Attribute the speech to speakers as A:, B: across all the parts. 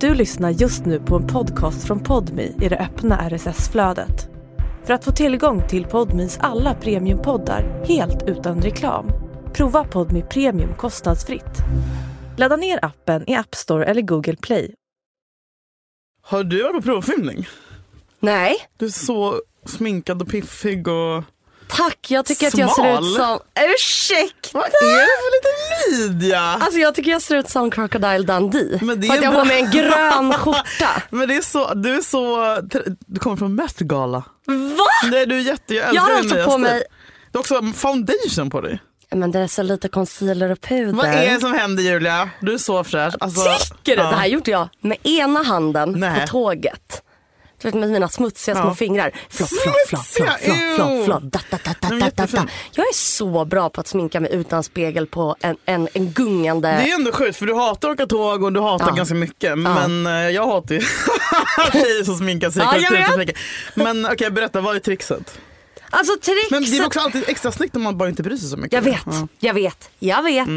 A: Du lyssnar just nu på en podcast från Podmi i det öppna RSS-flödet. För att få tillgång till Podmis alla premiumpoddar helt utan reklam, prova Podmi Premium kostnadsfritt. Ladda ner appen i App Store eller Google Play.
B: Har du varit på provfilmning?
C: Nej,
B: Du är så sminkad och piffig och...
C: tack. Jag tycker att jag ser
B: Smal.
C: ut som... Ursäkta!
B: Vad är det för liten Lydia?
C: Alltså jag tycker jag ser ut som Crocodile Dundee.
B: Men det är
C: för att jag
B: bra.
C: har med en grön skjorta.
B: Men det är så, du är så... Du kommer från Met Gala.
C: Va?
B: Nej du är jätte... Jag,
C: Jag
B: älskar din
C: har alltså
B: nya
C: på
B: stil.
C: mig...
B: Du har också foundation på dig.
C: Men det är så lite concealer och puder.
B: Vad är det som händer Julia? Du är så fräsch. Alltså,
C: Tycker du?
B: ja.
C: Det här gjorde jag med ena handen
B: Nej.
C: på tåget. Du vet med mina smutsiga små
B: Ja.
C: fingrar. Flopp, flopp, flopp, flopp,
B: Smutsiga,
C: flopp, flopp,
B: ew.
C: flopp. Da, da, da,
B: Men
C: da, da, da.
B: jättefin.
C: Jag är så bra på att sminka mig utan spegel på en, en, en gungande...
B: Det är ändå sjukt för du hatar att åka tåg och du hatar
C: Ja.
B: ganska mycket. Men eh, jag hatar ju tjejer som sminkar sig i
C: Ja, jag
B: kollektivtrafiken. Men okej berätta, vad är trixet?
C: Alltså trixet...
B: Men det är också alltid extra snyggt om man bara inte bryr sig så mycket.
C: Jag vet,
B: Ja. Mm.
C: jag vet, jag vet.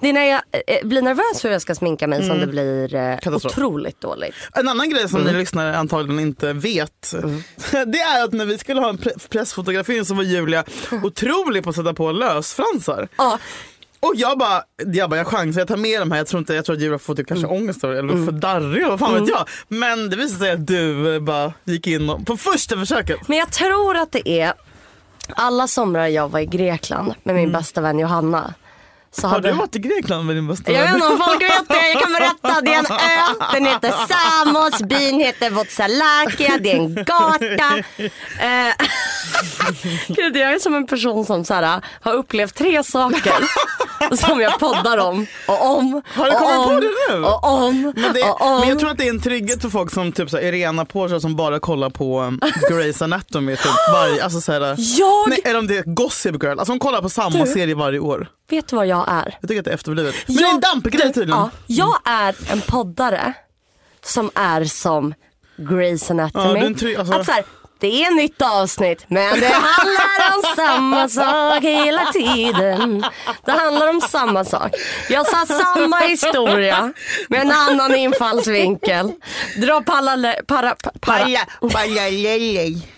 C: Det är när jag eh, blir nervös för hur jag ska sminka mig som det blir eh,
B: Katastrof.
C: otroligt dåligt.
B: En annan grej som
C: Mm.
B: ni lyssnare antagligen inte vet. Det är att när vi skulle ha en pre- pressfotografering så var Julia
C: Mm.
B: otrolig på att sätta på lösfransar.
C: Ja,
B: Och jag bara, jag bara, jag chansar, jag tar med dem här. Jag tror, inte, jag tror att Julia får typ kanske
C: Mm.
B: ångest över det, eller för darrig, vad fan vet jag. Men det visade sig att du eh, bara gick in och, på första försöket.
C: men jag tror att det är alla somrar jag var i Grekland med min bästa vän Johanna. Så
B: Mm. Har du varit i Grekland med din bästa
C: Jag vet
B: vän?
C: inte om folk vet det, jag kan berätta. Det är en ö, den heter Samos, byn heter Votsalakia, det är en gata. Eh, Gud, jag är som en person som så här, har upplevt tre saker som jag poddar om och om
B: Har du
C: och
B: kommit
C: om,
B: på det nu?
C: och om
B: Men, det,
C: och om.
B: men jag tror att det är en trygghet för folk som typ så här, Irena Porsche som bara kollar på um, Grey's Anatomy. Typ varje, alltså så här,
C: Jag-
B: nej, eller om det är Gossip Girl. Alltså hon kollar på samma serie varje år.
C: Vet du vad jag är?
B: Jag tycker att det är efterblivet. Men
C: jag,
B: det är en dampgrej tydligen.
C: Ja, jag är en poddare som är som Grey's
B: Ja,
C: Anatomy.
B: du är en try- alltså-
C: Att så här, det är nytt avsnitt men det handlar om samma sak hela tiden. Det handlar om samma sak. Jag sa samma historia med en annan infallsvinkel. Dra paralleller. Para, pa- para.
B: Palla, pallalelej.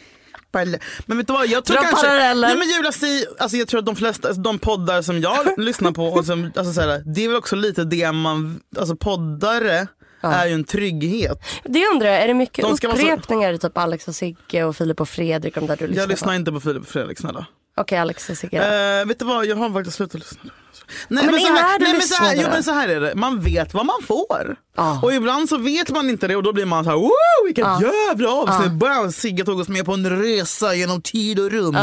B: Palla. Men vet du vad, jag tror
C: Dra
B: kanske...
C: paralleller.
B: Nej, men Julia, säg- alltså jag tror att de flesta, alltså de poddar som jag lyssnar på, och som, alltså så här, det är väl också lite det man, alltså poddare är ju en trygghet.
C: Det undrar jag, är det mycket
B: De ska vara så-
C: upprepningar? Typ Alex och Sigge och Filip och Fredrik. De där du lyssnar
B: Jag lyssnar
C: på.
B: inte på Filip och Fredrik snälla.
C: Okej Alex och Sigge.
B: Eh, vet du vad, jag har faktiskt slutat lyssna. Nej,
C: men
B: men, så
C: är
B: här,
C: du
B: nej, men, så här,
C: lyssnare?
B: jo, men så här är det, man vet vad man får.
C: Ja.
B: Och ibland så vet man inte det och då blir man så här, wow vilket jävla avsnitt. Wow, Sigge tog oss med på en resa genom tid och rum.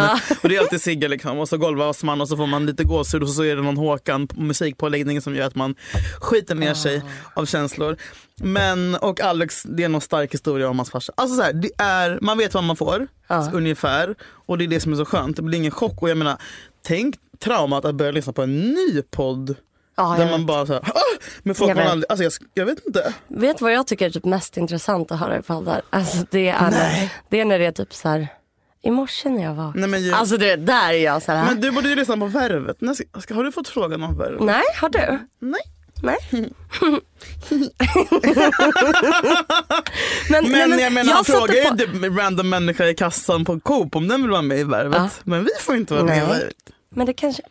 B: Och det är alltid Sigge liksom och så golvas man och så får man lite gåshud och så är det någon Håkan musikpåläggning som gör att man skiter ner sig av känslor. Men och Alex, det är någon stark historia om hans farsa. Alltså så här, det är, man vet vad man får ungefär och det är det som är så skönt. Det blir ingen chock och jag menar, tänk traumat att börja lyssna på en ny podd
C: Ja, jag
B: där
C: vet.
B: man bara såhär, ah! men folk
C: Jag
B: man
C: vet.
B: aldrig, alltså jag, sk- jag vet inte.
C: Vet du vad jag tycker är typ mest intressant att höra i poddar? Alltså det är, när, det är när det är typ så här, i morse när jag vaknade.
B: Nej, men, ju,
C: Alltså det där är jag så här.
B: men du borde ju lyssna på Värvet. När ska- ska- Har du fått frågan om Värvet?
C: Nej, har du?
B: Nej.
C: Nej. men, nej,
B: Men jag menar han
C: satte
B: frågar ju
C: på-
B: typ en random människa i kassan på Coop om den vill vara med i Värvet.
C: Ja.
B: Men vi får inte vara med i
C: Nej.
B: Värvet.
C: Men det kanske,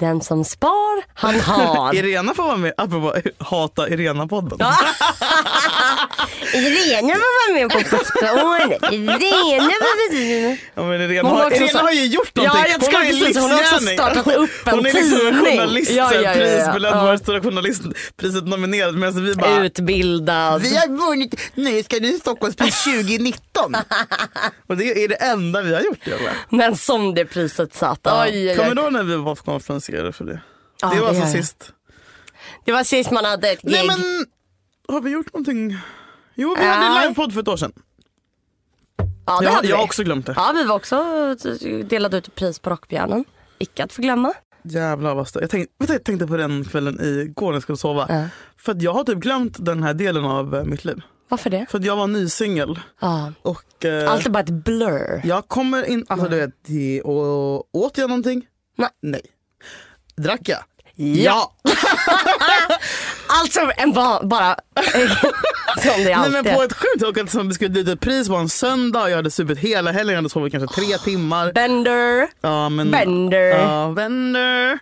C: den som spar, han har.
B: Irena får vara med, apropå hata Irena-podden.
C: Irene var med på Postbladet. Irene var med.
B: Ja, men Irena,
C: Hon
B: har,
C: har också
B: Irena
C: så-
B: har ju gjort
C: Ja,
B: någonting.
C: jag skulle
B: har ju
C: precis- hon har också
B: livsgärning.
C: startat upp en
B: Hon är liksom
C: tidning.
B: journalist,
C: Ja, ja, ja, ja.
B: prisbelönt,
C: Ja.
B: Årets stora journalistpriset nominerad. Medan vi bara,
C: Utbildad.
B: Vi har vunnit Nyska ny Stockholmspris 2019. Och det är det enda vi har gjort. Jag tror.
C: Men som det priset satt. Oj, oj,
B: Kommer
C: oj.
B: du ihåg när vi var konferenserade för det?
C: Ja,
B: det var
C: det
B: alltså
C: gör jag.
B: sist.
C: Det var sist man hade ett gig.
B: Nej men, har vi gjort någonting? Jo, vi
C: Ja.
B: hade livepodd för ett år sedan.
C: ja, det
B: jag,
C: hade
B: jag har
C: vi.
B: också glömt det.
C: Ja, vi var också eh, delade ut ett pris på Rockbjörnen. Icke att förglömma.
B: Jävlar vad stö- jag tänkte, vet du, jag tänkte på den kvällen igår när jag skulle sova.
C: Ja.
B: För att jag har typ glömt den här delen av eh, mitt liv.
C: Varför det?
B: För att jag var nysingel.
C: Ja.
B: Och eh,
C: Allt är bara ett blur.
B: jag kommer in, alltså du vet, det- och, åt jag någonting?
C: Nej.
B: Nej. Drack jag? Ja!
C: Alltså en ba- bara som det
B: Nej,
C: alltid
B: men på
C: är.
B: ett sjukt och som vi skulle dit ett pris på en söndag. Jag hade supit hela helgen, jag hade sovit kanske tre
C: Oh,
B: timmar.
C: Bender.
B: Ja, men,
C: Bender.
B: Ja, Bender.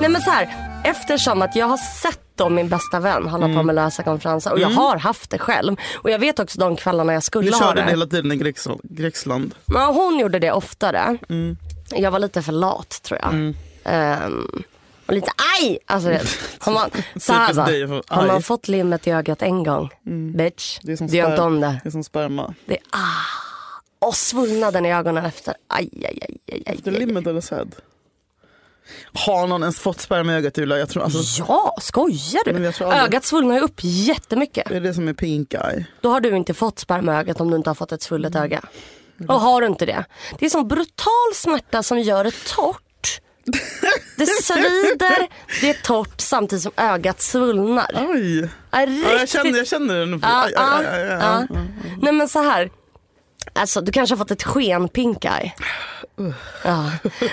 C: Nej men så här, eftersom att jag har sett dem min bästa vän hålla
B: Mm.
C: på med lösa konferenser och jag har haft det själv. Och jag vet också de kvällarna jag
B: Ni
C: skulle ha
B: körde det
C: det.
B: hela tiden i Grekland. Grekland.
C: Men hon gjorde det oftare.
B: Mm.
C: Jag var lite för lat tror jag. Ehm, och lite aj! Alltså, du vet, har man, så här
B: Typiskt
C: va,
B: dig, för
C: har man
B: aj. Mm.
C: fått limmet i ögat en gång, bitch,
B: Det är som,
C: du gör inte
B: sper-
C: om det.
B: det är som sperma.
C: Det är ah! Och svullnaden i ögonen efter. Aj, aj, aj, aj, aj.
B: Det är
C: aj.
B: limmet eller säd? Har någon ens fått sperma i ögat Julia? Jag tror alltså,
C: Ja, skojar
B: Men
C: du?
B: jag tror aldrig-
C: Ögat svullnar ju upp jättemycket.
B: det är det som är pink eye.
C: Då har du inte fått sperma i ögat om du inte har fått ett svullet öga. Och har du inte det. Det är sån brutal smärta som gör det torrt. Det svider, det är torrt samtidigt som ögat svullnar.
B: Oj!
C: Ja,
B: Ja, jag, känner,
C: riktigt.
B: jag känner det nu.
C: Ja,
B: Aj, aj,
C: ja,
B: aj, aj, Mm, aj.
C: ja. Nej men så här. Alltså du kanske har fått ett sken pink eye. Ja.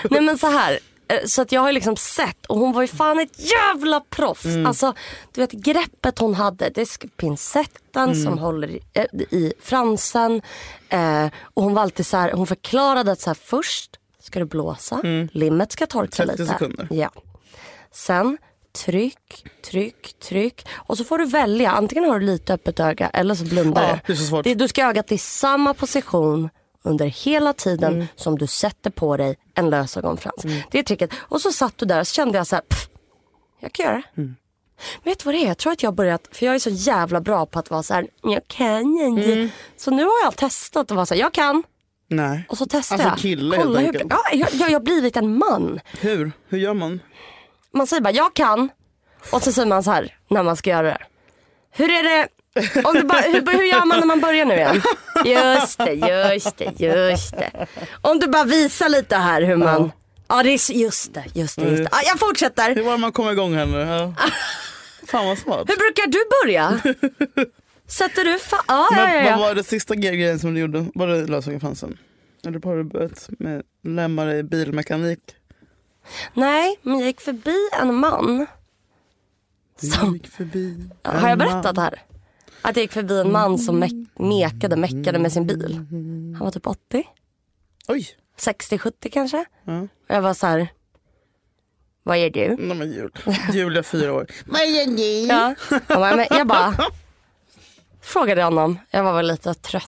C: Nej men så här. Eh, Så att jag har ju liksom sett och hon var ju fan ett jävla proffs.
B: Mm.
C: Alltså du vet greppet hon hade. Det är sk- pincetten
B: Mm.
C: som håller i, eh, i fransen. Eh, och hon var alltid så här. Hon förklarade att så här först ska du blåsa. Limmet ska torka
B: 30
C: lite.
B: Mm. sekunder.
C: Ja. Sen tryck, tryck, tryck. Och så får du välja. Antingen har du lite öppet öga eller så blundar
B: Ja,
C: du.
B: det är så svårt.
C: du ska ha ögat i samma position under hela tiden
B: Mm.
C: som du sätter på dig en lösögonfrans. Det är tricket. Och så satt du där och så kände jag så här, pff, jag kan göra det.
B: Mm.
C: Vet du vad det är? Jag tror att jag har börjat, för jag är så jävla bra på att vara så här, jag kan inte.
B: Mm.
C: Så nu har jag testat att vara så här, jag kan.
B: Nej.
C: Och så testar
B: Alltså
C: jag.
B: kille,
C: Kolla
B: helt
C: hur,
B: enkelt.
C: ja, jag, jag, jag har blivit en man
B: Hur? Hur gör man?
C: man säger bara jag kan och så säger man så här när man ska göra det. Hur är det, om du bara, hur, hur gör man när man börjar nu igen? Just det, just det, just det. Om du bara visar lite här hur man, ja det är, s- just det, just det,
B: Mm.
C: just det. Ja, jag fortsätter.
B: Hur var det man kom igång här nu? Ja. Fan vad smart.
C: Hur brukar du börja? Sätter du fa- ja, ja, ja,
B: Men vad
C: ja.
B: var det sista gre- grejen som du gjorde? Var det lösögonfransen? Eller har du börjat med lämna dig i bilmekanik?
C: Nej, men jag gick förbi en man.
B: Du
C: Som-
B: gick förbi.
C: Har jag berättat det här? Att jag gick förbi en man som me- mekade, meckade med sin bil.
B: Mm.
C: Han var typ 80.
B: Oj!
C: 60-70 kanske.
B: Ja.
C: Och jag var så här, vad gör du?
B: Nej, men jul. Julia fyra år. Vad gör ni?
C: Ja. Han bara, men jag bara frågade honom, jag var väl lite trött.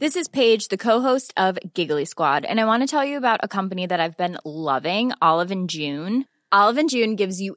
D: This is Paige, the co-host of Giggly Squad, and I want to tell you about a company that I've been loving, Olive and June. Olive and June gives you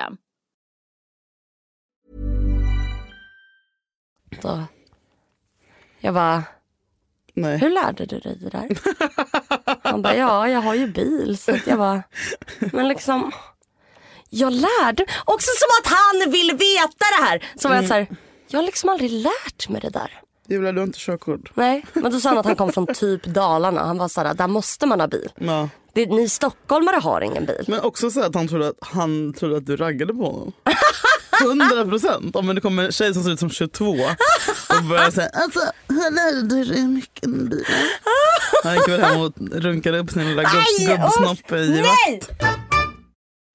C: Och jag bara,
B: Nej.
C: hur lärde du dig det där? Han bara, ja jag har ju bil. Så att jag bara, men liksom, jag lärde Också som att han vill veta det här. Så var jag så här, jag har liksom aldrig lärt mig det där.
B: Julia, du har inte körkort.
C: Nej, men då sa han att han kom från typ Dalarna. Han var så här, där måste man ha bil.
B: Ja.
C: Det, ni stockholmare har ingen bil.
B: Men också så att han trodde att, han trodde att du raggade på honom. 100 procent. Om det kommer en tjej som ser ut som 22 och börjar säga alltså, hur lärde du dig mycket om bilen? Han gick väl hem och runkade upp sin lilla gubb,
C: Aj,
B: gubbsnopp
C: usch,
B: i
C: Nej!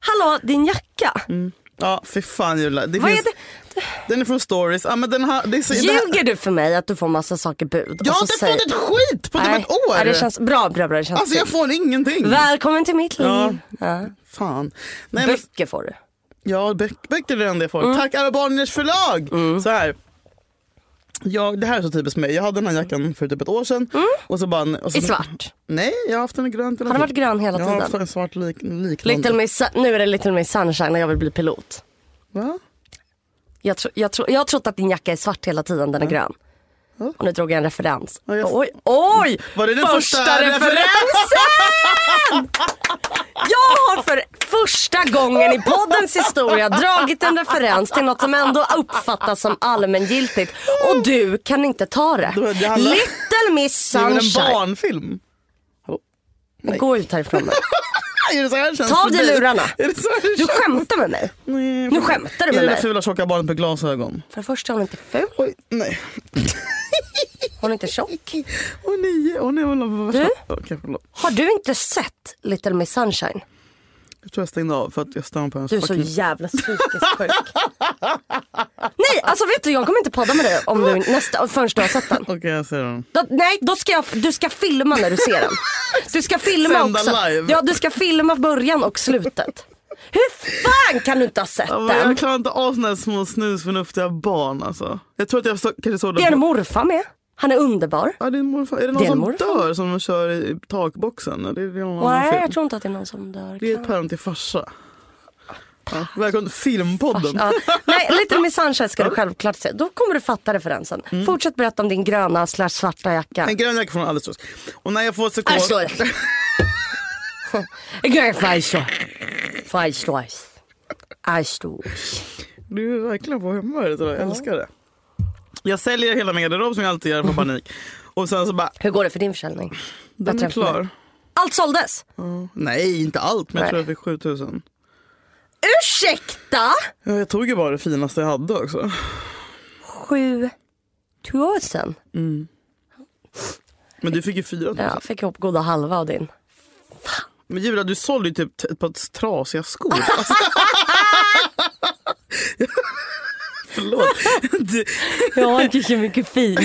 C: Hallå, din jacka.
B: Mm, Ja, fy fan Julia. Det
C: Vad
B: finns,
C: är det?
B: Den är från stories. Ja, men den här, det är så, det här,
C: Ljuger du för mig att du får massa saker bud?
B: jag
C: Och
B: har
C: så
B: inte
C: säger-
B: fått ett skit på typ
C: Nej,
B: ett år.
C: Nej, det känns bra, bra, bra. Det känns
B: Alltså jag
C: fint.
B: får ingenting.
C: Välkommen till mitt liv.
B: Ja.
C: Ja.
B: Fan. Nej, men,
C: Böcker får du. Mm.
B: ja, bö- böcker är det enda jag får. Tack Albaniers förlag. Så här. Jag, det här är så typiskt mig. Jag hade den här jackan för typ ett år sedan. Och så bara, och så,
C: Mm. I svart.
B: Nej, jag har haft den i grönt hela
C: Har den varit
B: tiden.
C: grön hela
B: Jag har haft
C: tiden?
B: en svart lik, liknande.
C: Little Miss, Sun- nu är det Little Miss Sunshine när jag vill bli pilot.
B: Va?
C: Jag, tro, jag, tro, jag har trott att din jacka är svart hela tiden, den är grön. Och nu drog jag en referens.
B: Ja, jag-
C: Oj, oj!
B: Var det den första
C: referensen! Jag har för första gången i poddens historia dragit en referens till något som ändå uppfattas som allmängiltigt. Och du kan inte ta det.
B: var- det handlar-
C: Little Miss
B: Det är väl en
C: Sunshine.
B: barnfilm?
C: Gå ut härifrån nu.
B: Är det så här det känns
C: Ta
B: för
C: av dig
B: dig?
C: lurarna.
B: Är det så här det
C: Du
B: känns?
C: skämtar med mig.
B: Nej.
C: Nu skämtar du med
B: Är det det
C: mig.
B: fula tjocka barnet med glasögon?
C: För det första, hon är inte ful.
B: Oj, nej.
C: Hon är inte tjock.
B: Åh nej, åh nej. Åh, nej.
C: Du?
B: Okej, förlåt.
C: Har du inte sett Little Miss Sunshine?
B: Jag tror jag stängde av för att jag stör på hennes
C: Du är så
B: fucking...
C: jävla psykiskt sjuk. Nej, alltså vet du, jag kommer inte podda med dig om du nästa, förrän du har sett den.
B: Okej, jag ser den.
C: Då, nej, då ska jag, du ska filma när du ser den. Du ska filma
B: Sända
C: också.
B: live.
C: Ja, du ska filma början och slutet. Hur fan kan du inte ha sett
B: Ja, men Jag
C: den?
B: klarar inte av såna här små snusförnuftiga barn alltså. Jag tror att jag så, kanske såg
C: Det är en
B: den på...
C: morfar med. Han är underbar.
B: Ja, det är, en morfar. är det någon
C: Det är en
B: som
C: morfar.
B: dör som de kör i takboxen? Det är, det är någon annan
C: Nej,
B: film.
C: jag tror inte att det är någon som dör.
B: Det är ett päron till farsa. Ja, välkommen till filmpodden.
C: Ja. Nej, Little Miss Sunshine ska du självklart se. Då kommer du fatta referensen.
B: Mm.
C: Fortsätt berätta om din gröna slash svarta jacka.
B: En grön jacka från Alice Roos. Och när jag får sekå...
C: Jag slår. Jag gör fajslås. Fajslås. Ajslås.
B: Du är verkligen på humöret idag, jag älskar det. Jag säljer hela min garderob som jag alltid gör på panik. Och sen så bara,
C: Hur går det för din försäljning?
B: den
C: Bättre
B: är
C: än för mig.
B: klar.
C: Allt såldes.
B: Nej, inte allt men jag
C: Nej.
B: tror jag fick 7000.
C: Ursäkta?
B: Ja, jag tog ju bara det finaste jag hade också.
C: Sju tusen.
B: Men du fick ju 4000.
C: Ja, fick ihop goda halva av din.
B: Men Julia, du sålde ju typ t- ett par trasiga skor. Alltså. Förlåt. Du,
C: Jag har inte så mycket fint.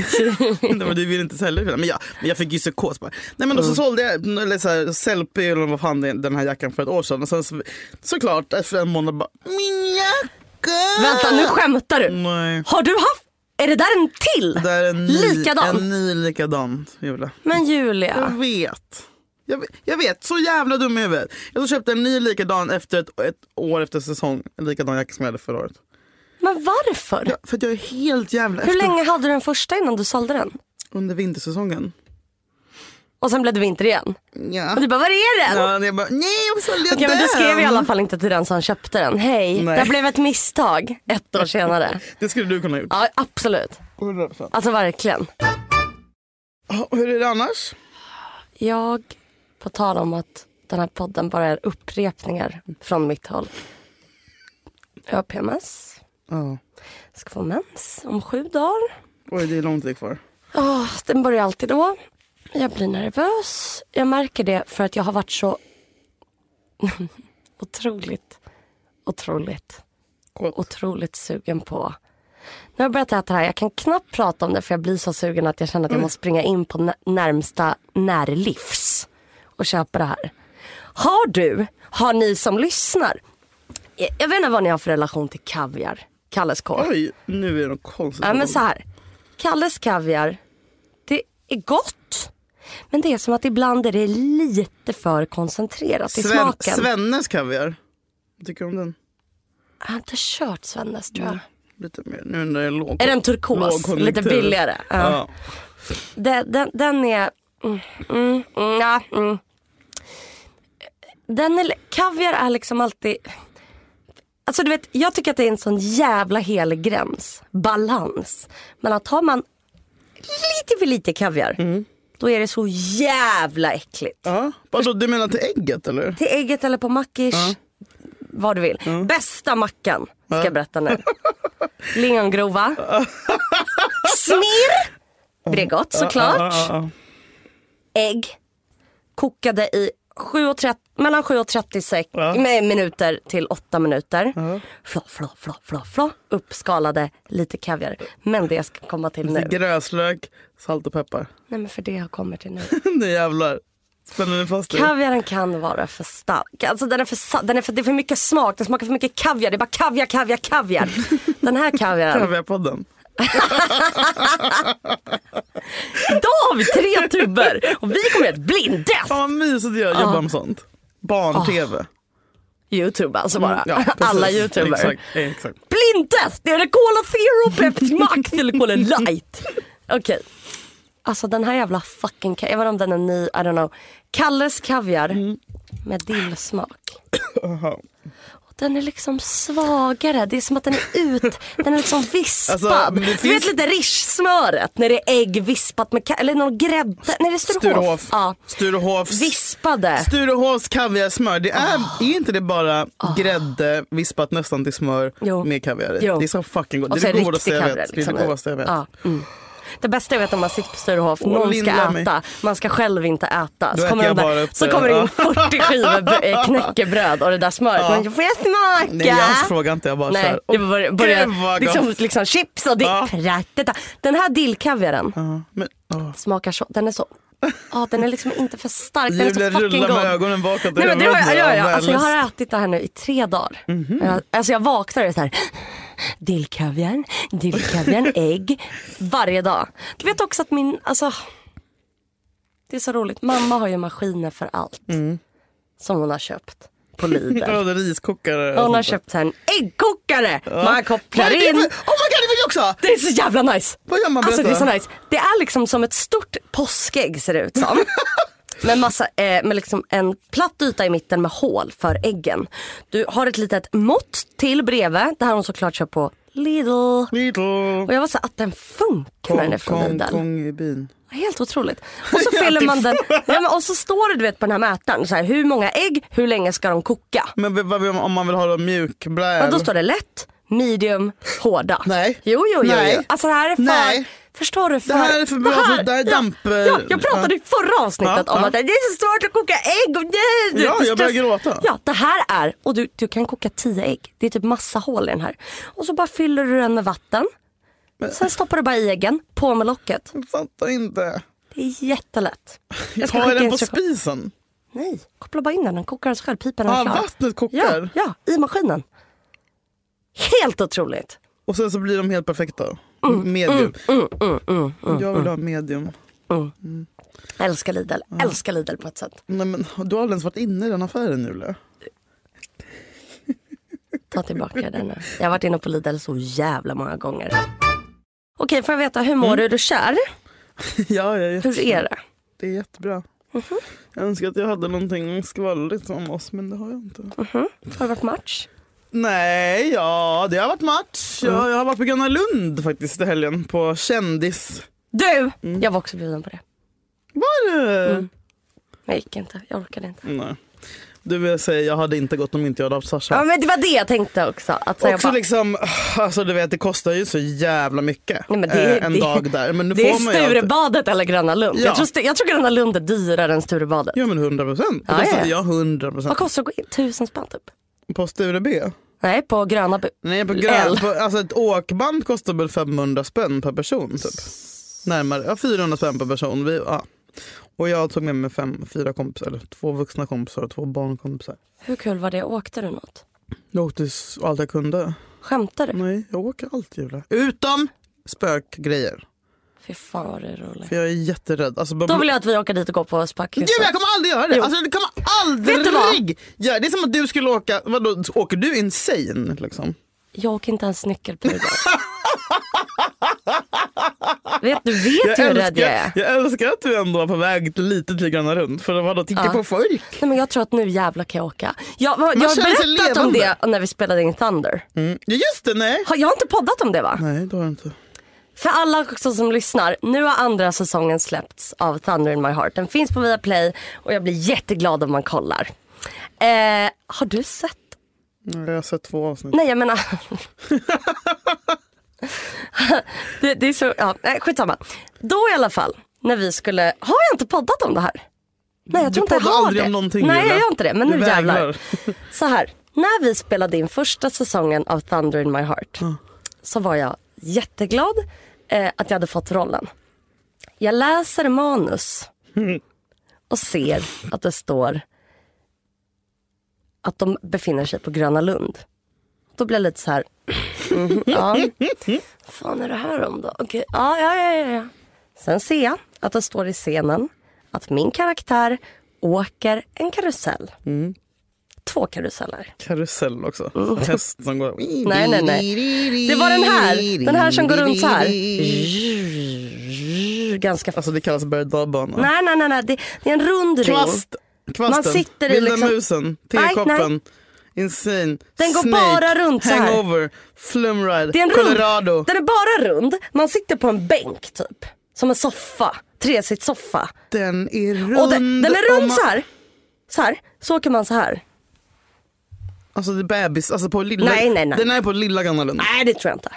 B: nej, men du vill inte sälja det. Men jag, men jag fick ju psykos. Bara. Nej, men och
C: Mm.
B: så sålde jag mm, eller så här, Sellpy eller vad fan det är, den här jackan för ett år sedan. Och sen så, såklart efter en månad bara min jacka.
C: Vänta, nu skämtar du.
B: Nej.
C: Har du haft... Är det där en till?
B: Det är en ny,
C: Likadan? Ah.
B: En ny likadan Julia.
C: Men
B: Jag
C: Julia.
B: vet. Jag, vet- jag vet, så jävla dum i huvudet. Jag så köpte en ny likadan efter ett, ett år efter säsong. En likadan jacka som jag hade förra året.
C: Men varför?
B: Ja, för att jag är helt jävla
C: Hur
B: efter
C: länge hade du den första innan du sålde den?
B: under vintersäsongen.
C: Och sen blev det vinter igen.
B: Ja.
C: Och du bara, var är den?
B: ja jag bara, nej jag sålde jag
C: Okej,
B: den.
C: men du skrev i alla fall inte till den som köpte den. Hej,
B: Nej.
C: det blev ett misstag ett år senare.
B: Det skulle du kunna ha gjort.
C: Ja, absolut.
B: 100%.
C: Alltså verkligen.
B: Ja, Hur är det annars?
C: Jag, på tal om att den här podden bara är upprepningar från mitt håll. Jag har PMS,
B: Ja.
C: ska få mens om sju dagar.
B: Oj, det är lång tid kvar.
C: Åh, den börjar alltid då. Jag blir nervös. Jag märker det för att jag har varit så otroligt, otroligt,
B: Gott.
C: otroligt sugen på... Nu har jag börjat äta det här. Jag kan knappt prata om det för jag blir så sugen att jag känner att jag måste springa in på nä- närmsta närlivs och köpa det här. Har du, har ni som lyssnar, jag, jag vet inte vad ni har för relation till kaviar, Kalles korv.
B: Oj, nu är det något konstigt.
C: Ja, men så här. Kalles kaviar, det är gott. Men det är som att ibland är det lite för koncentrerat i
B: Sven,
C: smaken.
B: Svennes kaviar. Vad tycker du om den?
C: Jag har inte kört Svennes tror jag.
B: Lite mer. Nu när det är låg.
C: Är den turkos?
B: lågkonjunktur.
C: Lite billigare. Ja.
B: Ja.
C: Den, den, den är... Mm, mm, mm, ja, mm. Den är, kaviar är liksom alltid... Alltså du vet, jag tycker att det är en sån jävla helig gräns. Balans. Men att har man lite för lite kaviar,
B: Mm.
C: då är det så jävla äckligt.
B: Ja. Vadå, du menar till ägget eller?
C: Till ägget eller på mackish. Vad du vill. Bästa mackan ska jag berätta nu. Lingongrova. Snirr. Bregott såklart.
B: Ja, ja,
C: Ägg. Kokade i 7.30 mellan 7 och 30 sek- med minuter till 8 minuter. Flå, flå, flå, flå, flå. Uppskalade lite kaviar. Men det jag ska komma till nu.
B: ja. Gräslök, salt och peppar.
C: Nej men för det jag kommer till nu.
B: nu jävlar. Spänner ni fast dig?
C: Kaviaren kan vara för stark. Alltså den är för, sa- den är för, det är för mycket smak, den smakar för mycket kaviar. Det är bara kaviar, kaviar, kaviar. Den här kaviaren,
B: Kaviarpodden.
C: Idag har vi tre tuber och vi kommer att blinda.
B: Fan vad mysigt det är att jobba med sånt. Barn-tv.
C: Youtube alltså Ah. bara.
B: Mm. Ja, precis.
C: Alla youtuber.
B: Exakt, exakt.
C: Blindtest! Det är det Cola Zero, Pepsi Max eller Cola Light. Okej. Alltså den här jävla fucking, ka- jag vet inte om den är ny, I don't know. Kalles kaviar
B: Mm.
C: med dillsmak. Och Den är liksom svagare, det är som att den är ut, den är liksom vispad.
B: Alltså, men det
C: du
B: finns-
C: vet lite rish-smöret när det är ägg vispat med, ka- eller någon grädde, nej det är Sturehof.
B: Sturehof.
C: Ja.
B: Sturehofs.
C: Vispade.
B: Sturehofs kaviarsmör. Det är,
C: Ah.
B: är inte det bara grädde vispat nästan till smör
C: Jo.
B: med kaviar i?
C: Jo.
B: Det är så fucking gott.
C: Och
B: Det
C: så
B: är det godaste
C: Alltså, riktig
B: jag
C: kaviar.
B: vet. Det är
C: liksom.
B: det godaste jag vet.
C: Ja, mm. Det bästa jag vet om man sitter på Sturehof,
B: Åh,
C: någon ska
B: lindra
C: äta,
B: mig.
C: man ska själv inte äta.
B: Då
C: Så kommer,
B: äter
C: de
B: jag bara
C: där,
B: upp
C: så
B: det.
C: kommer det in
B: Ja.
C: 40 skivor b- eh, knäckebröd och det där smöret. Man Man, får jag smaka?
B: Nej, jag frågar inte. Jag bara så
C: Nej,
B: här,
C: det var bara,
B: "Åh,
C: börja,
B: gud, vad
C: liksom,
B: gott."
C: liksom chips och dill.
B: Ja.
C: Pratata. Den här dillkaviaren
B: Ja, men, åh.
C: smakar så, den är så, ja den är liksom inte för stark, den är
B: Julia
C: så fucking
B: rullar med
C: god.
B: ögonen bakåt.
C: Nej, men det har jag, ja, ja.
B: Av
C: Alltså, jag
B: världens- Mhm.
C: har ätit det här nu i tre dagar. Jag, alltså jag vaknar och är så här. Dillkaviar, dillkaviar, ägg. Varje dag. Du vet också att min, alltså. Det är så roligt. Mamma har ju maskiner för allt.
B: Mm.
C: Som hon har köpt på
B: Jag
C: Lidl.
B: hade riskokare. och
C: Hon har
B: sånt där.
C: köpt så här en äggkokare. Man
B: Vad
C: kopplar
B: är det för- Oh my
C: in.
B: god, det vill jag också ha!
C: Det är så jävla nice.
B: Vad gör man?
C: Alltså det är så
B: Berätta.
C: nice. Det är liksom som ett stort påskägg ser det ut som. Med, massa, eh, med liksom en platt yta i mitten med hål för äggen. Du har ett litet mått till bredvid. Det här har hon såklart köpt på Lidl.
B: Lidl.
C: Och jag var så att den funkar när den är
B: Kong,
C: från
B: kong,
C: Lidl.
B: kong i byn.
C: Helt otroligt. Och så fyller man den. Ja, men, och så står det du vet på den här mätaren. Så här, hur många ägg, hur länge ska de koka?
B: Men v- vad- om man vill ha dem mjuk,
C: Ja,
B: bräl.
C: då står det lätt, medium, hårda.
B: Nej.
C: Jo, jo, jo. jo.
B: Nej.
C: Alltså det här är för...
B: Nej.
C: Förstår du? För,
B: Det här är för bra för- det här är
C: ja,
B: damp, eh,
C: Ja, jag pratade i förra avsnittet
B: Ja,
C: om
B: ja.
C: att det är så svårt att koka ägg. Och nej, du,
B: Ja,
C: det är
B: jag börjar
C: stress.
B: gråta.
C: Ja, det här är... Och du, du kan koka tio ägg. Det är typ massa hål i den här. Och så bara fyller du den med vatten. Sen stoppar du bara i äggen, på med locket.
B: Jag fattar inte.
C: Det är jättelätt. Jag ska
B: Ta
C: skicka
B: den på
C: instruktion-
B: spisen.
C: Nej, koppla bara in den. Den kokar av sig själv. Pipan är
B: Ja,
C: klar.
B: vattnet
C: Ja,
B: kokar.
C: ja, i maskinen. Helt otroligt.
B: Och sen så blir de helt perfekta.
C: Mm,
B: Medium. jag vill ha medium.
C: Älskar Lidl, älskar Lidl på ett sätt.
B: Nej, men, du har aldrig ens varit inne i den affären Julia.
C: Ta tillbaka den nu. Jag har varit inne på Lidl så jävla många gånger. Okej, får jag veta hur mår
B: Mm.
C: du? Är du kär?
B: ja, jag är jätte-
C: Hur Mhm. är det?
B: Det är jättebra. Jag önskar att jag hade någonting skvallrigt om oss men det har jag inte.
C: Mm. Har det varit match?
B: Nej, ja det har varit match. Jag,
C: Mm.
B: jag har varit på Gröna Lund faktiskt i helgen på Kändis.
C: Du! Mm. Jag var också bjuden på det.
B: Var det?
C: Mm. Jag gick inte, jag orkade inte.
B: Nej. Du vill säga jag hade inte gått om inte jag hade haft Sasha.
C: Ja men det var det jag tänkte också. Att så jag
B: Också
C: bara,
B: liksom, alltså du vet det kostar ju så jävla mycket
C: Nej, men det,
B: eh, en
C: det,
B: dag där. Men nu
C: det är
B: får man ju alltid-
C: Sturebadet eller Gröna Lund.
B: Ja.
C: Jag, tror, Stu- jag tror Gröna Lund är dyrare än Sturebadet.
B: Ja men 100 procent. Det
C: Ja,
B: kostade
C: ja.
B: jag 100 procent.
C: Vad kostar det att gå in? Tusen spänn typ?
B: På Sture B?
C: Nej, på Gröna Bu.
B: Nej på
C: L.
B: grön, på, alltså ett åkband kostar väl 500 spänn per person typ. Närmare, ja 400 spänn per person. Vi, ja. Och jag tog med mig fem, fyra kompisar, eller två vuxna kompisar och två barnkompisar.
C: Hur kul var det? Åkte du något?
B: Jag åkte s- allt jag kunde.
C: Skämtar du?
B: Nej, jag åker allt Julia. Utom spökgrejer.
C: Fy fan vad det är roligt.
B: För jag är jätterädd. Alltså, bara-
C: Då vill jag att vi åker dit och går på
B: Gud,
C: spökhuset.
B: jag kommer aldrig göra det.
C: Jo.
B: Alltså, det kommer aldrig.
C: Vet du vad?
B: Ja, det är som att du skulle åka, vadå, åker du insane liksom?
C: Jag åker inte ens nyckelpiga. vet du vet du hur
B: Jag
C: rädd jag
B: älskar,
C: är?
B: jag älskar att du ändå var på väg till- lite till Gröna Rund för att vadå, titta på folk.
C: Nej, men jag tror att nu jävla kan jag åka. Jag, jag har
B: känner sig
C: berättat om
B: levande.
C: det när vi spelade in Thunder.
B: Mm. Ja just det, nej.
C: Har, jag har inte poddat om det va?
B: Nej det har du inte.
C: För alla också som lyssnar, nu har andra säsongen släppts av Thunder in my heart. Den finns på Viaplay och jag blir jätteglad om man kollar. Eh, har du sett?
B: Nej, Jag har sett två avsnitt.
C: Nej jag menar... det, det är så, ja, nej, skitsamma. Då i alla fall, när vi skulle, har jag inte poddat om det här? Nej jag tror inte jag
B: poddar
C: har
B: aldrig
C: det.
B: om någonting,
C: nej jag
B: Julia.
C: gör inte det, men
B: Du
C: nu jävlar.
B: vägrar.
C: Så här, när vi spelade in första säsongen av Thunder in my heart så var jag jätteglad eh, att jag hade fått rollen. Jag läser manus och ser att det står att de befinner sig på Gröna Lund. Då blir jag lite så här, mm-hmm, ja. fan är det här om då? Okej, ja, ja, ja, ja, ja. Sen ser jag att det står i scenen att min karaktär åker en karusell. Två karuseller.
B: Karusell också. Häst som går...
C: Nej, nej, nej. Det var den här. Den här som går runt så här. Ganska...
B: Alltså det kallas berg dalbana.
C: Nej, nej, nej. nej. Det, det är en rund ring.
B: Kvast, kvasten,
C: Man sitter i
B: vilda
C: liksom-
B: musen,
C: Nej,
B: tekoppen, insane,
C: Den går
B: snake,
C: bara runt så här.
B: hangover, flumride,
C: Det är en
B: colorado.
C: rund. Den är bara rund. Man sitter på en bänk typ. Som en soffa. Tresitssoffa.
B: Den är rund.
C: Och den, den är
B: om
C: rund
B: man-
C: så här. Så här. Så åker man så här.
B: Alltså det är bebis, alltså på lilla,
C: Nej, nej, nej.
B: den är på lilla Gamla Lund.
C: Nej det tror jag inte.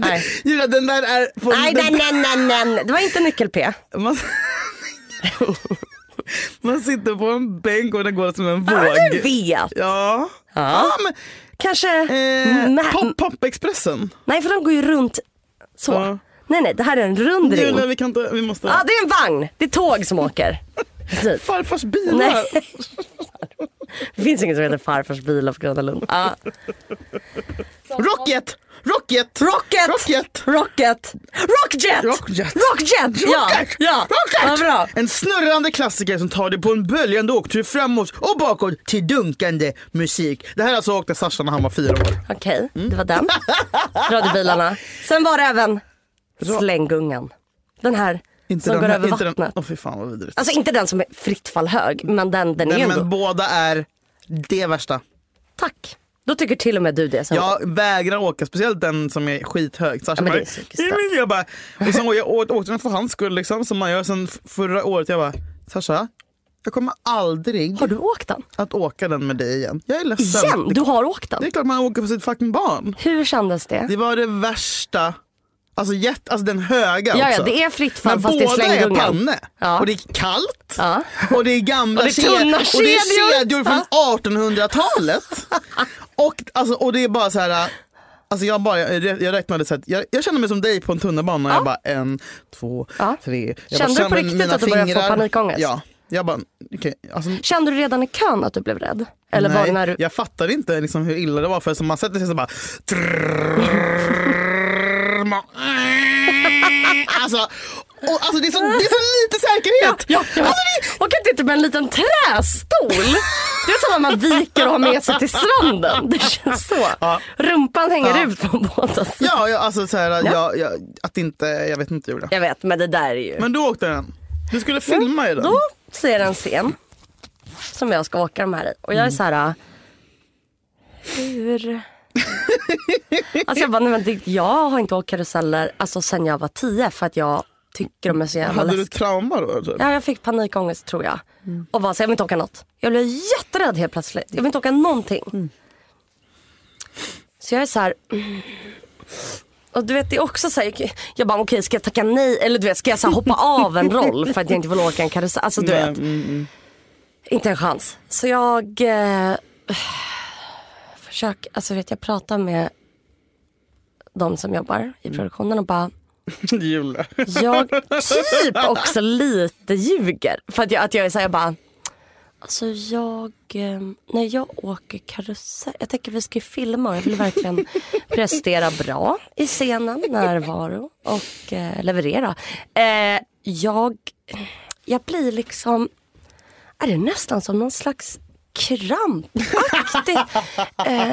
C: nej.
B: Julia den där är på
C: Nej,
B: den-
C: nej, nej, nej, nej. Det var inte nyckel-P.
B: Man... man sitter på en bänk och den går som en våg.
C: Ja, du vet.
B: Ja.
C: Ja.
B: men,
C: Kanske...
B: eh,
C: Nä-
B: pop, Popexpressen.
C: Nej, för de går ju runt så.
B: Ja.
C: Nej, nej, det här är en rund ring.
B: Julia vi kan inte, vi måste.
C: Ja, det är en vagn. Det är tåg som åker. Precis.
B: Farfars bilar.
C: Nej. Det finns ingen som heter farfars bilar på Gröna Lund. Ja.
B: Rocket! Rocket!
C: Rocket!
B: Rocket!
C: Rocket! Rockjet!
B: Rockjet.
C: Rockjet! Ja!
B: Rocket!
C: Ja.
B: Rocket!
C: ja bra.
B: En snurrande klassiker som tar dig på en böljande åktur framåt och bakåt till dunkande musik. Det här alltså åkte Sasha när han var fyra år.
C: Okej,
B: Mm.
C: det var den. Radiobilarna. Sen var det även slänggungan. Den här som går
B: den här-
C: över
B: inte
C: vattnet.
B: Den, åh fy fan vad vidrigt.
C: Alltså inte den som är fritt fall hög, men den, den är ju
B: Nej,
C: ändå...
B: men båda är det värsta.
C: Tack. Då tycker till och med du det. Sen.
B: Jag vägrar åka, speciellt den som är skithög. Så här, så
C: Ja, men det
B: bara,
C: är psykiskt.
B: "Nej, men jag bara, och sen, åkte jag åt- åkte den för hans skull liksom, som man gör sen f- förra året. Jag bara, Sasha, jag kommer aldrig
C: Har du åkt den?
B: att åka den med dig igen. Jag är ledsen.
C: Igen?
B: Det,
C: Du har åkt den?
B: det är klart man åker på sitt fucking barn.
C: Hur kändes det?
B: Det var det värsta. Alltså, jätt, alltså den höga
C: Ja,
B: också.
C: ja, det är fritt fall
B: Men
C: fast det är
B: båda är
C: slänggungan.
B: panne.
C: Ja.
B: Och det är kallt.
C: Ja.
B: Och det är gamla
C: Och det är tunna
B: Och det är
C: kedjor.
B: kedjor från 1800-talet. och, alltså, och det är bara så här. Alltså jag, bara, jag rä- jag räknade så här, jag, jag kände mig som dig på en tunnelbana. Jag bara en, två,
C: Ja.
B: tre. Jag
C: Kände du
B: bara,
C: på riktigt
B: mina
C: att du började få
B: fingrar.
C: panikångest?
B: Ja. Jag bara, okej. alltså,
C: Kände du redan i kön att du blev rädd? Eller var
B: nej,
C: det när du...
B: jag fattade inte liksom hur illa det var för som man sätter sig så bara Man- Alltså, och, alltså det, är så, det är så lite säkerhet.
C: Ah, Ja, ja. alltså, Och kan inte med typ en liten trästol. Det är som när man viker och har med sig till stranden. Det känns så. Rumpan hänger
B: Ja.
C: ut på båda sidor.
B: Ja, jag, alltså så här, Jag, jag, att inte, jag vet inte Julia.
C: Jag vet, men det där är ju...
B: Men du åkte den. Du skulle filma i den.
C: Då ser jag en scen som jag ska åka de här i. Och jag är så
B: Mm.
C: här... äh, Hur... alltså jag bara, nej men det, jag har inte åkt karuseller alltså sen jag var tio för att jag tycker de är så jävla
B: Hade du
C: läskiga.
B: trauma då? Typ?
C: Ja, jag fick panikångest tror jag. Och bara, så jag vill inte åka något. Jag blev jätterädd helt plötsligt. Jag vill inte åka någonting. Så jag är så här... mm. Och du vet det är också så här, jag bara okej ska jag tacka nej eller du vet ska jag så här hoppa av en roll för att jag inte vill åka en karusell. Alltså du
B: Nej,
C: vet. Inte en chans. Så jag eh, försöker, alltså vet jag pratar med de som jobbar i produktionen och bara
B: Julia.
C: jag typ också lite ljuger. För att jag, att jag är såhär, jag bara. Alltså jag, eh, när jag åker karusell, jag tänker vi ska ju filma och jag vill verkligen prestera bra i scenen, närvaro och eh, leverera. Eh, jag, jag blir liksom, är det nästan som någon slags krampaktig, eh,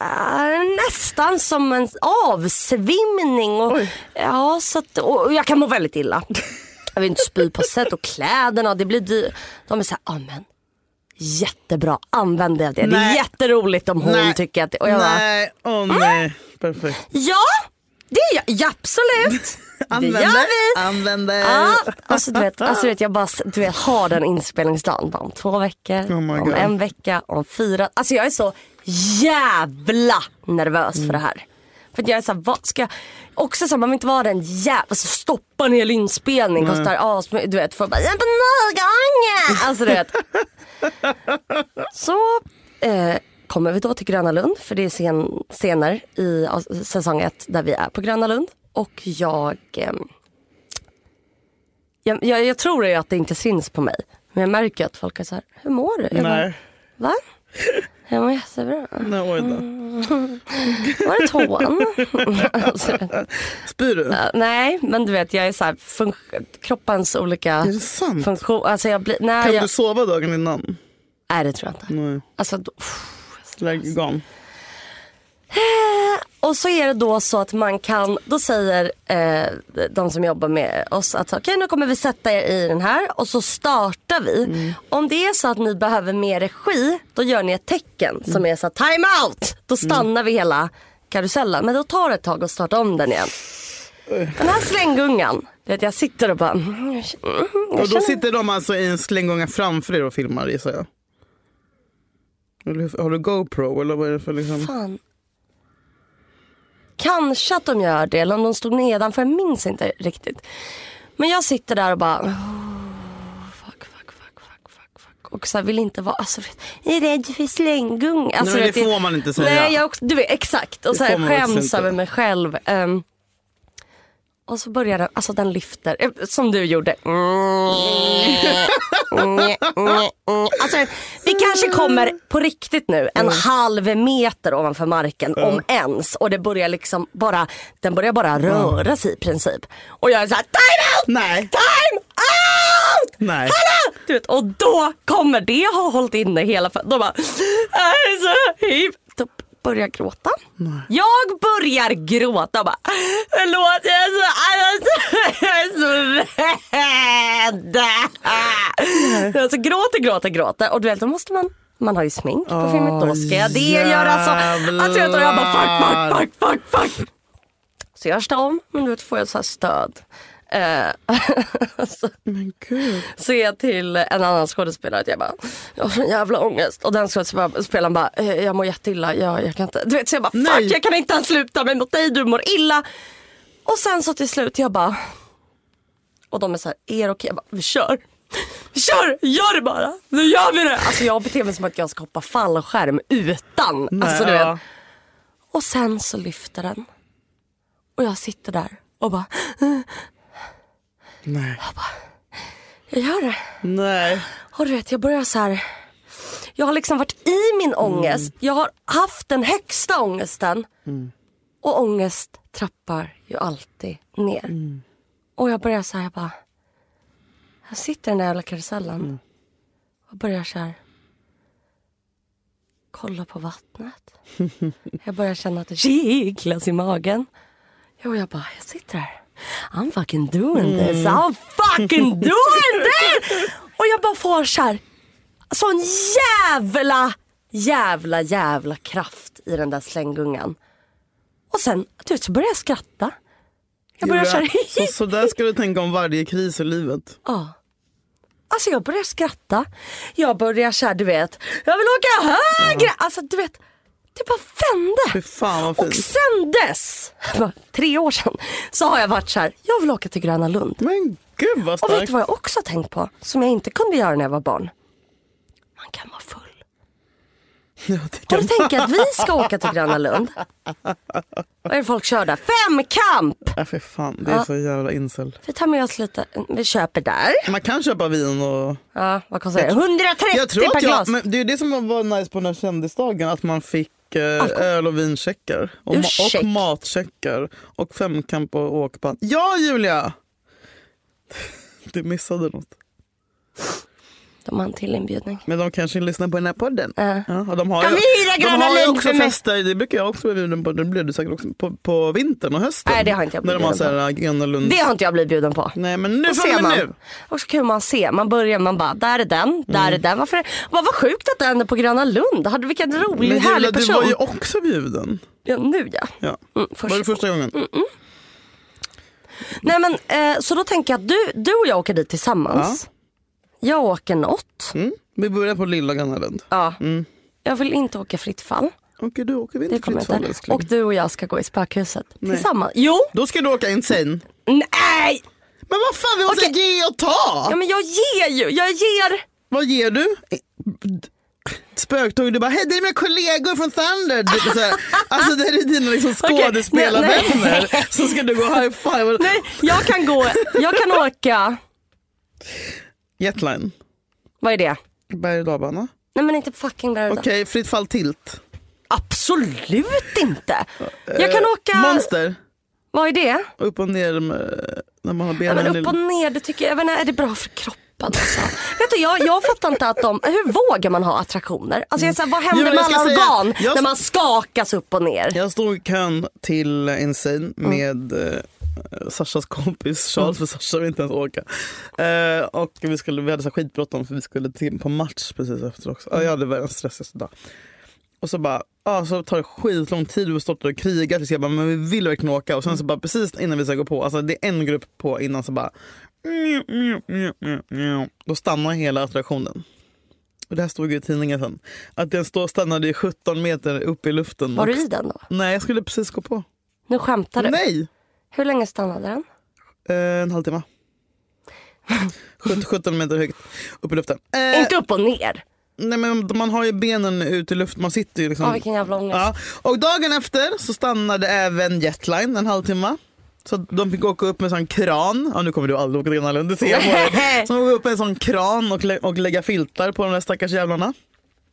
C: är nästan som en avsvimning. Och, ja, så att, och och jag kan må väldigt illa. Jag vill inte spy på sätt och kläderna, det blir dyrt. De är såhär, ja men jättebra, använd det. Det är
B: Nej.
C: jätteroligt om hon
B: Nej.
C: tycker att... Och jag bara,
B: nej, åh nej. Perfekt.
C: ja, det är jag, ja, absolut. det gör vi.
B: Använder.
C: Ja, alltså du vet, alltså, du vet jag bara du vet, har den inspelningsdagen bara om två veckor,
B: Oh my
C: om
B: God.
C: en vecka, om fyra. Alltså jag är så jävla nervös för det här. För att jag är såhär, vad ska jag? Också såhär, man vill inte vara den jävla, alltså stoppa en hel inspelning, kostar as, du vet, för bara, jag är på nödgången. Alltså du vet. Så eh, kommer vi då till Gröna Lund för det är scen- scener i av- säsong ett där vi är på Gröna Lund. Och jag, ehm, jag, jag, jag tror ju att det inte syns på mig. Men jag märker ju att folk är så här, hur mår du? Jag
B: Nej.
C: Bara, Va? Jag mår jättebra.
B: Nej, oj då.
C: Var det tån? alltså,
B: Spyr du?
C: nej, men du vet jag är så här, fun- kroppens olika
B: Är det sant?
C: funktioner. Alltså jag blir, nej,
B: Kan
C: jag,
B: du sova dagen
C: Alltså,
B: innan?
C: nej, det tror jag inte.
B: Nej.
C: Alltså, då, pff.
B: Lägg igång.
C: Och så är det då så att man kan, då säger eh, de som jobbar med oss att okej nu kommer vi sätta er i den här och så startar vi. Om det är så att ni behöver mer regi då gör ni ett tecken som är så här, time out. Då stannar vi hela karusellen men då tar det ett tag att starta om den igen. Den här slänggungan, det att jag sitter och bara mm, jag känner- mm, jag
B: Och då
C: känner-
B: sitter de alltså i en slänggånga framför er och filmar gissar jag. Eller hur- Har du GoPro eller vad är det för liksom?
C: Fan. Kanske att de gör det eller om de stod nedanför, jag minns inte riktigt. Men jag sitter där och bara... Oh, fuck, fuck, fuck, fuck, fuck, fuck. Och så här, vill inte vara... Alltså, vet, jag är rädd för slänggung. Alltså,
B: Nej,
C: vet,
B: det får man inte säga.
C: Nej, jag, också- du vet, exakt. Och så här,
B: får
C: jag
B: man också
C: skäms
B: inte.
C: över mig själv. Ehm, och så börjar den, alltså den lyfter, eh, som du gjorde. Mm. Mm, mm, mm. Alltså, vi kanske kommer på riktigt nu en
B: Mm.
C: halv meter ovanför marken om ens och det börjar liksom bara, den börjar bara röra sig i princip. Och jag är såhär time out!
B: Nej.
C: Time out!
B: Nej.
C: Hallå! Du vet, och då kommer det jag har hållit inne hela för Då bara, "Jag är så hipp. Då börjar jag gråta. Jag börjar gråta och bara, förlåt jag är så, jag är så rädd. Jag så gråter, gråter, gråter och du vet då måste man man har ju smink på filmen, då ska jag det göra så. Alltså, jag, vet, och jag bara fuck, fuck, fuck, fuck, fuck. Så jag står om, men då får jag så här stöd. Eh, så,
B: Men gud.
C: så är jag till en annan skådespelare att jag bara, jag har sån jävla ångest. Och den skådespelaren bara, eh, jag mår jätteilla, jag, jag kan inte. Du vet, så jag bara, fuck
B: Nej.
C: jag kan inte ens sluta mig mot dig, du mår illa. Och sen så till slut, jag bara, och de är så här, är det okej? Jag bara, vi kör. Vi kör, gör det bara. Nu gör vi det. Alltså jag beter mig som att jag ska hoppa fallskärm utan. alltså, du vet.
B: ja.
C: Och sen så lyfter den. Och jag sitter där och bara,
B: Nej.
C: jag gör det.
B: Nej.
C: Och du vet, jag börjar så här. Jag har liksom varit i min ångest. Jag har haft den högsta ångesten. Och ångest trappar ju alltid ner. Och jag börjar så här, jag bara. Jag sitter i den där jävla karusellen. Och börjar så här. Kolla på vattnet. jag börjar känna att det kittlas i magen. Jo, jag bara, jag sitter här. I'm fucking doing this. I'm fucking doing this! Och jag bara får så här, sån jävla, jävla, jävla kraft i den där slänggungan. Och sen, du vet, så börjar jag skratta. Jag börjar så här,
B: Så, så där ska du tänka om varje kris i livet.
C: Alltså jag börjar skratta. Jag börjar såhär du vet. Jag vill åka högre. Alltså du vet. Det bara vände.
B: Fy fan vad
C: Och
B: fint.
C: sen dess, bara tre år sedan, så har jag varit så här. jag vill åka till Gröna Lund.
B: Men gud vad
C: Och vet
B: starkt.
C: du vad jag också har tänkt på? Som jag inte kunde göra när jag var barn. Man kan vara full.
B: Jag tycker-
C: Har du tänkt att vi ska åka till Gröna Lund? Vad är det folk kör där? Femkamp!
B: Ja, fy fan, det är så jävla incel.
C: Vi tar med oss lite, vi köper där.
B: Man kan köpa vin och...
C: Ja, vad kostar det? 130
B: Jag tror
C: per
B: att jag,
C: glas.
B: men det är det som var nice på den här kändisdagen, att man fick eh, öl och vincheckar. Och, ma-
C: Ursäkt.
B: och matcheckar. Och femkamp och åkband. Ja Julia! Du missade något.
C: De har en till inbjudning.
B: Men de kanske lyssnar på den här podden.
C: Ja.
B: Ja, och de har
C: Kan
B: ju,
C: vi hyra
B: de
C: Gröna
B: har ju
C: Lund
B: också
C: för mig?
B: fester, det brukar jag också bli bjuden på. Det blir du säkert också på, på vintern och hösten.
C: Nej, det har inte jag
B: När de har
C: blivit
B: så här, äh, Gröna Lund.
C: Det har inte jag blivit bjuden på.
B: Nej men nu
C: Då ser
B: får
C: man.
B: vi nu. Mm.
C: Och så kan man se. Man börjar, man bara, där är den, där är den. Varför? Vad var sjukt att den är på Gröna Lund. Hade vilken rolig,
B: Men Julia,
C: härlig
B: du
C: person.
B: var ju också bjuden.
C: Ja, nu ja.
B: Ja.
C: Mm,
B: var
C: första
B: det första gången?
C: Nej men eh, så då tänker jag att du, du och jag åker dit tillsammans. Jag åker något.
B: Mm. Vi börjar på lilla Gröna Lund.
C: Ja.
B: Mm.
C: Jag vill inte åka fritt fall.
B: Okej, du åker vi
C: Det
B: inte
C: kommer
B: fritt
C: jag
B: fall
C: inte.
B: älskling.
C: Och du och jag ska gå i spökhuset tillsammans. Jo!
B: Då ska du åka insane.
C: Nej!
B: Men vad fan, vi måste ge och ta!
C: Ja men jag ger ju, jag ger.
B: Vad ger du? Spöktåg, du bara hej det är mina kollegor från Thunder. Du, så här, alltså det här är dina liksom
C: Okej, nej, nej.
B: skådespelarvänner. Så ska du gå high five.
C: Nej, jag kan gå, jag kan åka,
B: Jetline,
C: vad är det?
B: berg och dalbana.
C: Nej men inte fucking Laredon.
B: Okej, fritt fall tilt.
C: Absolut inte. Jag kan åka...
B: Eh, Monster.
C: Vad är det?
B: Upp och ner med, när man har
C: Ja,
B: benen
C: men upp och ner, det tycker jag, jag menar, är det bra för kroppen? Alltså? Vet du, jag, jag fattar inte att de, hur vågar man ha attraktioner? Alltså, jag är så här, vad
B: Jo,
C: händer
B: men
C: med
B: jag ska
C: alla
B: säga-
C: organ
B: jag-
C: när man skakas upp och ner?
B: Jag stod i kön till Insane med eh, Sashas kompis Charles, för Sasha vill inte ens åka. Eh, och vi, skulle, vi hade så här skitbråttom för vi skulle till, på match precis efter också. Ja, Jag hade världens stressigaste dag. Och så bara, ja, så tar det skitlång tid, vi har stått där och krigat tills jag bara, men vi vill verkligen åka. Och sen så bara precis innan vi ska gå på, alltså det är en grupp på innan så bara, mjau, mjau, mjau, mjau, mjau. då stannar hela attraktionen. Och det här stod ju i tidningen sen. Att den stå, stannade i 17 meter upp i luften.
C: Var
B: och
C: du i den då?
B: Nej, jag skulle precis gå på.
C: Nu skämtar du.
B: Nej!
C: Hur länge stannade den?
B: Eh, en halvtimme. 17, 17 meter högt upp i luften. Eh,
C: Inte upp och ner.
B: Nej, men man har ju benen ut i luften, man sitter ju liksom.
C: Åh, vilken jävla ångest.
B: ja. Och dagen efter så stannade även Jetline en halvtimme. Så att de fick åka upp med en sån kran. Ja, nu kommer du aldrig åka till Gröna Lund, det ser jag på dig. Så de åkte upp med en sån kran och, lä- och lägga filtar på de där stackars jävlarna.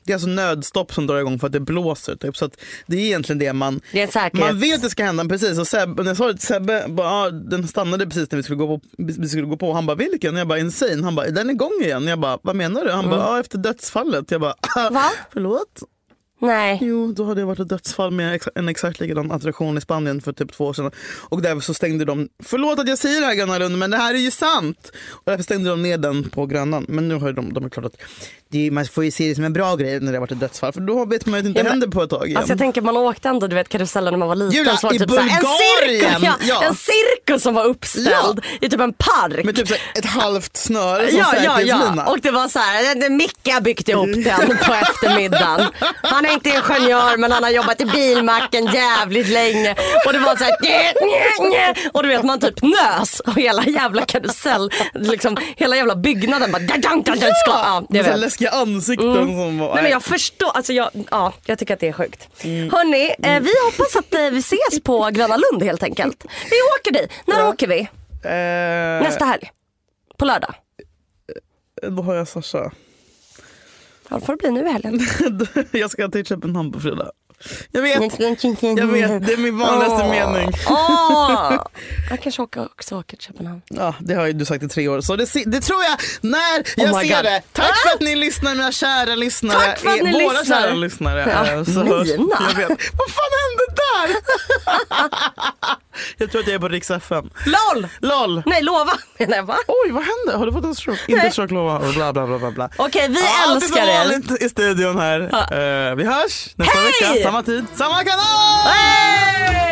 B: Det är alltså nödstopp som drar igång för att det blåser. Typ. Så att det är egentligen det man
C: Det är en säkerhet.
B: Man vet att det ska hända, precis. Och Sebbe, när jag sa det till Sebbe, bara, ah, den stannade precis när vi skulle gå på. Vi skulle gå på. Han bara, vilken? Jag bara, insane. Han bara, är den igång igen? Jag bara, vad menar du? Han bara, ah, efter dödsfallet. Jag bara,
C: Mm. Va?
B: förlåt?
C: Nej.
B: Jo, då hade det varit ett dödsfall med ex- en exakt likadan attraktion i Spanien för typ två år sedan. Och därför så stängde de, förlåt att jag säger det här Gröna Lund, men det här är ju sant. Och därför stängde de ner den på Grönan. Men nu har ju de, de är klart att det, är- man får ju se det som en bra grej när det har varit ett dödsfall. För då vet man ju att det inte
C: Ja, men-
B: händer på ett tag igen.
C: Alltså jag tänker man åkte ändå du vet karusellen när man var liten.
B: Julia,
C: så var det
B: i
C: typ så här,
B: Bulgarien!
C: En, cirkus, ja,
B: Ja.
C: en cirkus som var uppställd i typ en park.
B: Med typ så här ett halvt snöre som
C: Ja, ja,
B: säkerhetslina.
C: ja. Och det var så här, eh, det- det- Micke har byggt ihop den på eftermiddagen. Han är inte ingenjör men han har jobbat i bilmacken jävligt länge. Och det var så här, nje, nje, nje. och du vet man typ nös och hela jävla karusell, liksom hela jävla byggnaden bara, dang, dang, dang, dang, ska, ja, det
B: Med så här
C: vet. Mm.
B: läskiga ansikten som var...
C: Nej men jag förstår, alltså jag, ja, jag tycker att det är sjukt.
B: Mm.
C: Hörni, eh, vi hoppas att eh, vi ses på Gröna Lund helt enkelt. Vi åker dit, när åker vi?
B: Eh,
C: Nästa helg? På lördag?
B: Då har jag Sasha.
C: Ja det får det bli nu i helgen.
B: jag ska till Köpenhamn på fredag. Jag vet, jag vet. Det är min vanligaste
C: Åh.
B: mening.
C: Åh! Jag kanske åker, också åker till Köpenhamn.
B: Ja, det har ju du sagt i tre år. Så det, se- det tror jag när jag
C: Oh my
B: ser
C: God. Ah!
B: det. Tack för att ni lyssnar mina kära lyssnare.
C: Tack för att
B: Eh,
C: ni
B: Våra
C: lyssnar.
B: kära lyssnare.
C: Ja,
B: Eh, så
C: mina.
B: hörs- Jag vet. Vad fan hände där? jag tror att jag är på Rix FM.
C: LOL!
B: LOL.
C: Nej lova menar jag va?
B: Oj, vad hände? Har du fått en stroke? Inte stroke, lova. Bla, bla, bla, bla, bla.
C: Okej vi älskar
B: Allt är
C: er.
B: vanligt i studion här. Eh, vi hörs nästa
C: Hej!
B: vecka, samma tid, samma kanal!
C: Hej!